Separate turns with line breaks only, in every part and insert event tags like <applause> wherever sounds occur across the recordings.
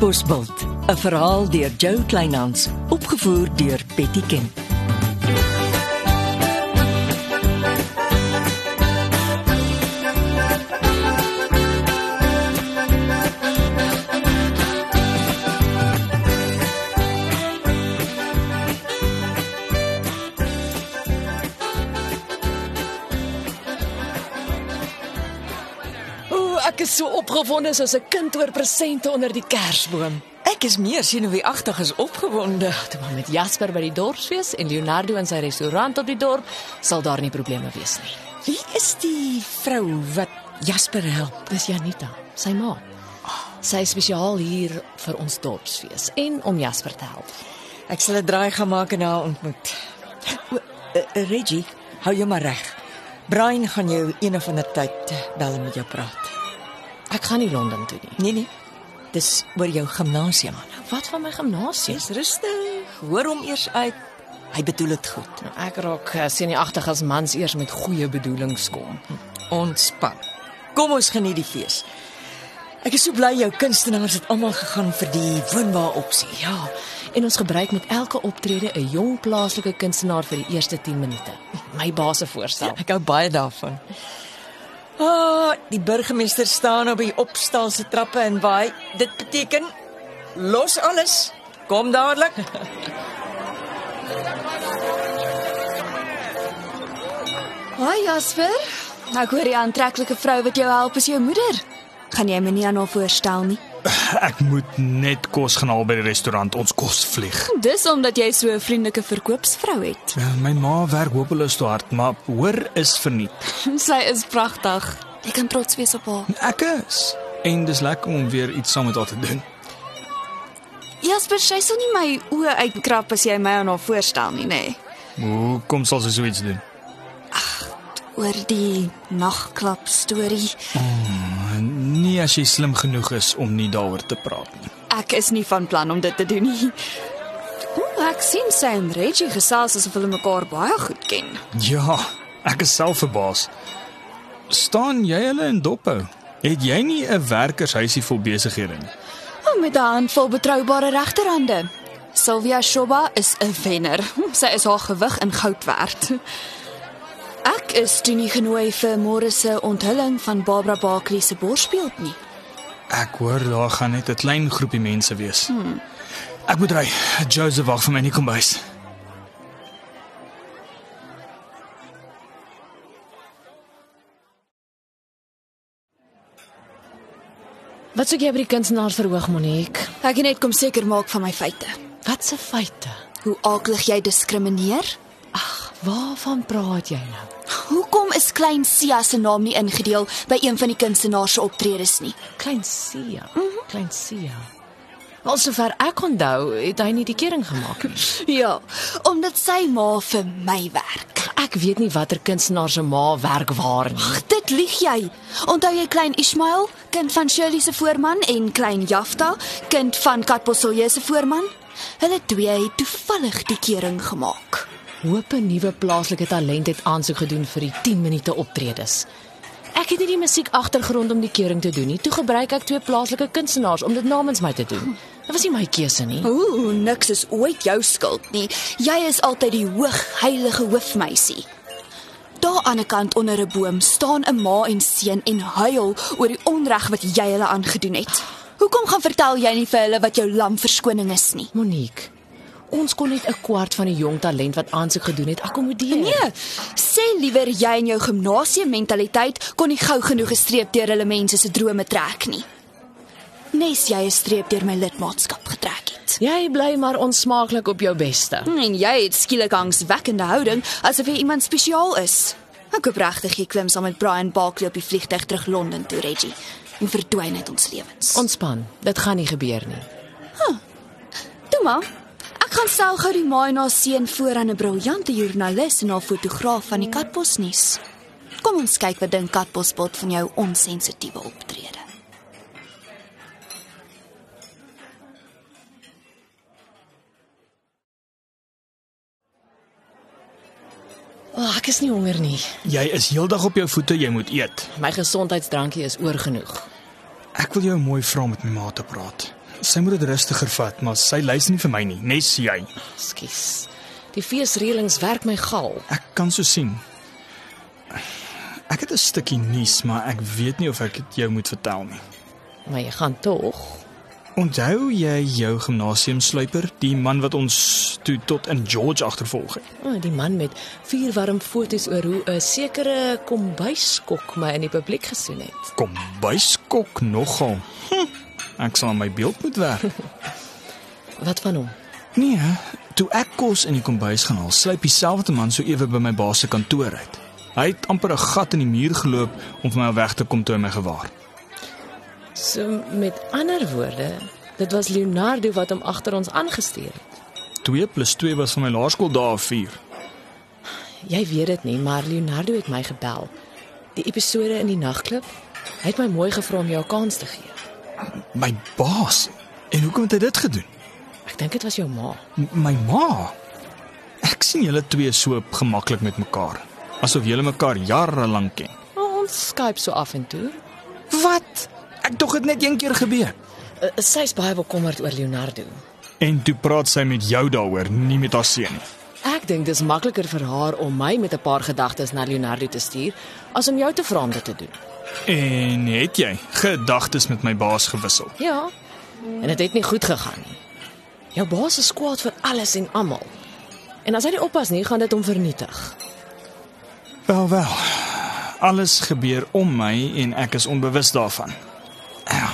Bosbult, 'n verhaal deur Jo Kleinhans, opgevoer deur Betty Ken.
Ooh, ek is so opgewonde soos 'n kind oor presente onder die kersboom.
Ek is meer senuweeagtig as opgewonde.
Toe maar met Jasper by die dorpsfees en Leonardo in sy restaurant op die dorp sal daar nie probleme wees nie.
Wie is die vrou wat Jasper help?
Dis Janita, sy ma. Sy is spesiaal hier vir ons dorpsfees en om Jasper te help.
Ek sal 'n draai gaan maak en haar ontmoet. O, eh, eh, Reggie, hou jou maar reg. Brian gaan jou een of ander tyd eh, bel en met jou praat.
Ek gaan nie Londen toe nie.
Nee nee. Dis oor jou gimnasium.
Wat van my gimnasium?
Dis rustig. Hoor hom eers uit. Hy bedoel dit goed.
Ek raak eh, senuagtig as mans eers met goeie bedoelings kom.
Ontspan. Kom ons geniet die fees. Ek is so bly jou kunstenaars het almal gegaan vir die woonwa opsie.
Ja, en ons gebruik met elke optrede 'n jong plaaslike kunstenaar vir die eerste 10 minute. Ja, My baas se voorstel.
Ek hou baie daarvan. Ah, die burgemeester staan op die opstaalse trappe en waai. Dit beteken los alles. Kom dadelik.
Haai Jasper. Ek hoor die aantreklike vrou wat jou help is jou moeder. Gaan jy my nie aan haar voorstel nie?
Ek moet net kos gaan haal by die restaurant. Ons kos vlieg.
Dis omdat jy so 'n vriendelike verkoopsvrou het. <laughs>
Eh, My ma werk hopeloos te hard, maar hoor is verniet.
Sy is pragtig. Jy kan trots wees op haar.
Ek is en dis lekker om weer iets saam met haar te doen.
Jasper, sy sal nie my oë uitkrap as jy my aan haar voorstel nie, nê? Nee.
Hoe kom sal sy so iets doen?
Oor die nagklap storie.
Nie as jy slim genoeg is om nie daaroor te praat nie.
Ek is nie van plan om dit te doen nie. O, ek sien sy en Reggie gesels asof hulle mekaar baie goed ken.
Ja, ek is self verbaas. Staan jy hulle in dophou? Het jy nie 'n werkershuisie vol besighede nie?
Oh, met 'n handvol betroubare regterhande. Sylvia Shoba is 'n wenner. <laughs> Sy is haar gewig in goud werd. Ek is toe nie genooi vir môre se onthulling van Barbara Barkley se borsbeeld nie.
Ek hoor daar gaan net 'n klein groepie mense wees. Hmm. Ek moet ry. Joseph wag vir my in die kombuis.
Wat soek jy by die kunstenaars verhoog Monique?
Ek het net kom seker maak van my feite.
Wat se feite?
Hoe aaklig jy diskrimineer?
Waarvan praat jy nou?
Hoekom is klein Sia se naam nie ingedeel by een van die kunstenaars se optredes nie?
Klein Sia. Mm -hmm. Klein Sia. Wel sover ek onthou, het hy nie die kering gemaak nie.
Ja, omdat sy ma vir my werk.
Ek weet nie watter kunstenaar se ma werk waar nie.
Ag, dit lieg jy. Onthou jy klein Ismail, kind van Shirley se voorman en klein Jafta, kind van Katbosselje se voorman? Hulle twee het toevallig die kering gemaak.
Hoop 'n nuwe plaaslike talent het aansoek gedoen vir die 10 minute optredes. Ek het nie die musiek agtergrond om die kering te doen nie. Toe gebruik ek twee plaaslike kunstenaars om dit namens my te doen. Dit was nie my keuse nie.
Ooh, niks is ooit jou skuld nie. Jy is altyd die hoogheilige hoofmeisie. Daar aan 'n kant onder 'n boom staan 'n ma en seun en huil oor die onreg wat jy hulle aangedoen het. Hoekom gaan vertel jy nie vir hulle wat jou lam verskoning is nie?
Monique, ons kon net 'n kwart van die jong talent wat aansoek gedoen het akkommodeer.
Nee, sê liewer jy en jou gimnasium mentaliteit kon nie gou genoeg gestreep deur hulle mense se drome trek nie. Nes jy 'n streep deur my lidmaatskap getrek het.
Jy bly maar onsmaaklik op jou beste.
En jy het skielik angswekkende houding asof jy iemand spesiaal is. Ek hoop regtig jy klim saam met Brian Barkley op die vliegtuig terug Londen toe, Reggie, en verdwyn uit ons lewens.
Ontspan, dit gaan nie gebeur nie.
Toe maar. Ek gaan sel gou die maai na seun voor aan 'n briljante joernalis en haar fotograaf van die Katbosnuus. Kom ons kyk wat dink Katbosbot van jou onsensitiewe optrede.
Oh, ek is nie honger nie.
Jy is heeldag op jou voete, jy moet eet.
My gesondheidsdrankie is oorgenoeg.
Ek wil jou mooi vra om met my ma te praat. Sy moet dit rustiger vat, maar sy luister nie vir my nie, nes jy.
Ekskuus. Die feesreëlings werk my gaal.
Ek kan so sien. Ek het 'n stukkie nuus, maar ek weet nie of ek dit jou moet vertel nie.
Maar jy gaan tog.
Onthou jy jou gimnasiumsluiper, die man wat ons toe tot in George agtervolg het?
O, oh, die man met vier warm foto's oor hoe 'n sekere kombuiskok my in die publiek gesoen het.
Kom, byskok nogal. Hm, ek sal aan my beeld moet werk.
Wat van hom?
Nee, toe ek kos in die kombuis gaan haal, sluip dieselfde man so ewe by my baas se kantoor uit. Hy het amper 'n gat in die muur geloop om vir my weg te kom toe hy my gewaar.
So met ander woorde, dit was Leonardo wat hom agter ons aangestuur het.
2 + 2 was van my laerskooldae 4.
Jy weet dit nie, maar Leonardo het my gebel. Die episode in die nagklub. Hy het my mooi gevra om jou 'n kans te gee.
My baas. En hoekom het hy dit gedoen?
Ek dink dit was jou ma.
M- My ma. Ek sien julle twee so gemaklik met mekaar, asof julle mekaar jare lank ken.
Oh, ons Skype so af en toe.
Wat? Ek dog dit net een keer gebeur.
Uh, Sy's baie bekommerd oor Leonardo.
En toe praat sy met jou daaroor, nie met haar seun nie.
Ek dink dis makliker vir haar om my met 'n paar gedagtes na Leonardo te stuur as om jou te vra om dit te doen.
En het jy gedagtes met my baas gewissel?
Ja. En dit het nie goed gegaan nie. Jou baas is kwaad vir alles en almal. En as hy nie oppas nie, gaan dit hom vernietig.
Wel wel. Alles gebeur om my en ek is onbewus daarvan. Ja.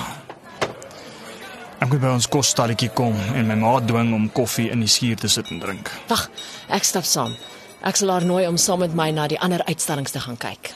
Ek moet by ons kosstalletjie kom en my ma dwing om koffie in die skuur te sit en drink.
Wag, ek stap saam. Ek sal haar nooi om saam met my na die ander uitstallings te gaan kyk.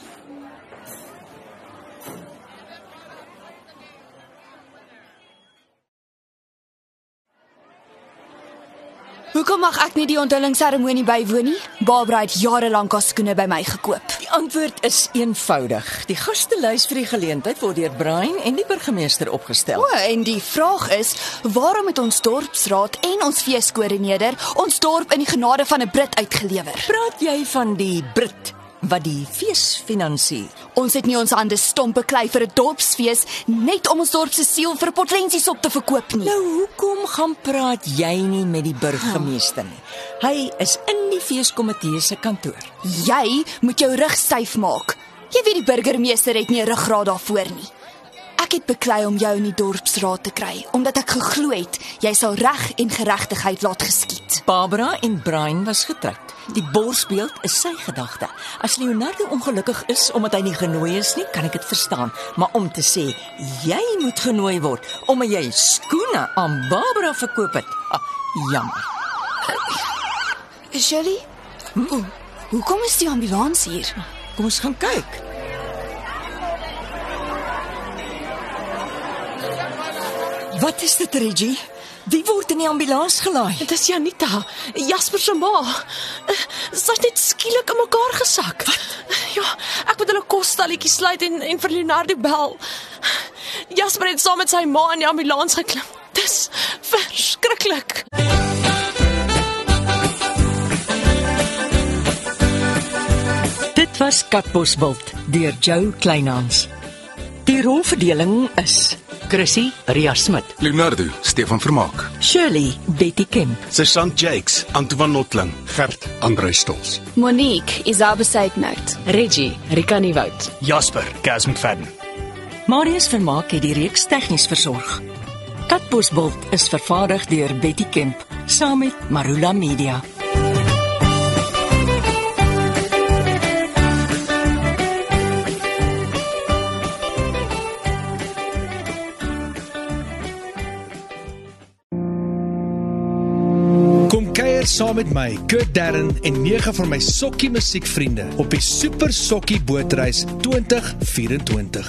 Hoekom mag ek nie die onthullingsseremonie bywoon nie? Barbara het jare lank haar skoene by my gekoop.
Die antwoord is eenvoudig. Die gastelys vir die geleentheid word deur Brian en die burgemeester opgestel.
O, en die vraag is, waarom het ons dorpsraad en ons feeskoördineerder ons dorp in die genade van 'n Brit uitgelewer?
Praat jy van die Brit wat die fees finansier?
Ons het nie ons hande stompe klei vir 'n dorpsfees net om ons dorp se siel vir potlensies op te verkoop nie.
Nou hoekom gaan praat jy nie met die burgemeester nie? Hy is in die feeskomitee se kantoor.
Jy moet jou rug styf maak. Jy weet die burgemeester het nie 'n ruggraat daarvoor nie. Ek het beklei om jou in die dorpsraad te kry omdat ek geglo het jy sal reg en geregtigheid laat geskied.
Barbara en Brian was getroud. Die borsbeeld is sy gedagte. As Leonardo ongelukkig is omdat hy nie genooi is nie, kan ek dit verstaan, maar om te sê jy moet genooi word omdat jy skoene aan Barbara verkoop het. Ah, jammer.
Shirley? Hm? Hoekom is die ambulans hier?
Kom ons gaan kyk. Wat is dit, Reggie? Wie word in die ambulans gelaai?
Dit is Janita, Jasper se ma. Sy's net skielik in mekaar gesak. Wat? Ja, ek moet hulle kosstalletjie sluit en en vir Leonardo bel. Jasper het saam met sy ma in die ambulans geklim. Dis verskriklik.
Dit was Katbosveld deur Jo Kleinhans. Die rolverdeling is Chrissy Ria Smit,
Leonardo, Stefan Vermaak,
Shirley Betty Kemp,
Sergeant Jakes, Antoine Notling,
Gert Andrei Stols.
Monique is daar besig nou.
Reggie, Rikani Wout.
Jasper, Cas McFadden.
Marius Vermaak het die reeks tegnies versorg. Katbosveld is vervaardig deur Betty Kemp saam met Marula Media.
Kom kuier saam met my, Kurt Darren en nege van my sokkie musiekvriende op die Super Sokkie Bootreis 2024.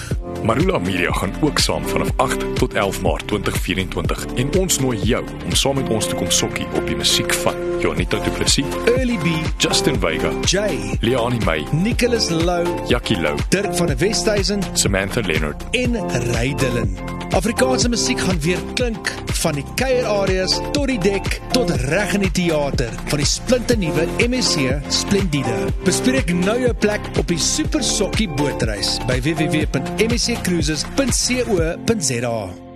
Marula Media gaan ook saam vanaf 8 tot 11 Maart 2024 en ons nooi jou om saam met ons te kom sokkie op die musiek van Jonita Du Plessis,
Early B,
Justin Vega,
Jay,
Leoni May,
Nicholas Lou,
Jackie Lou,
Dirk van der Westhuizen
Samantha Leonard.
en Rydelin. Afrikaanse musiek gaan weer klink van die kuierareas tot die dek tot reg in die teater van die splinternuwe MSC Splendide. Bespreek nou jou plek op die Super Sokkie Bootreis by www.msccruises.co.za.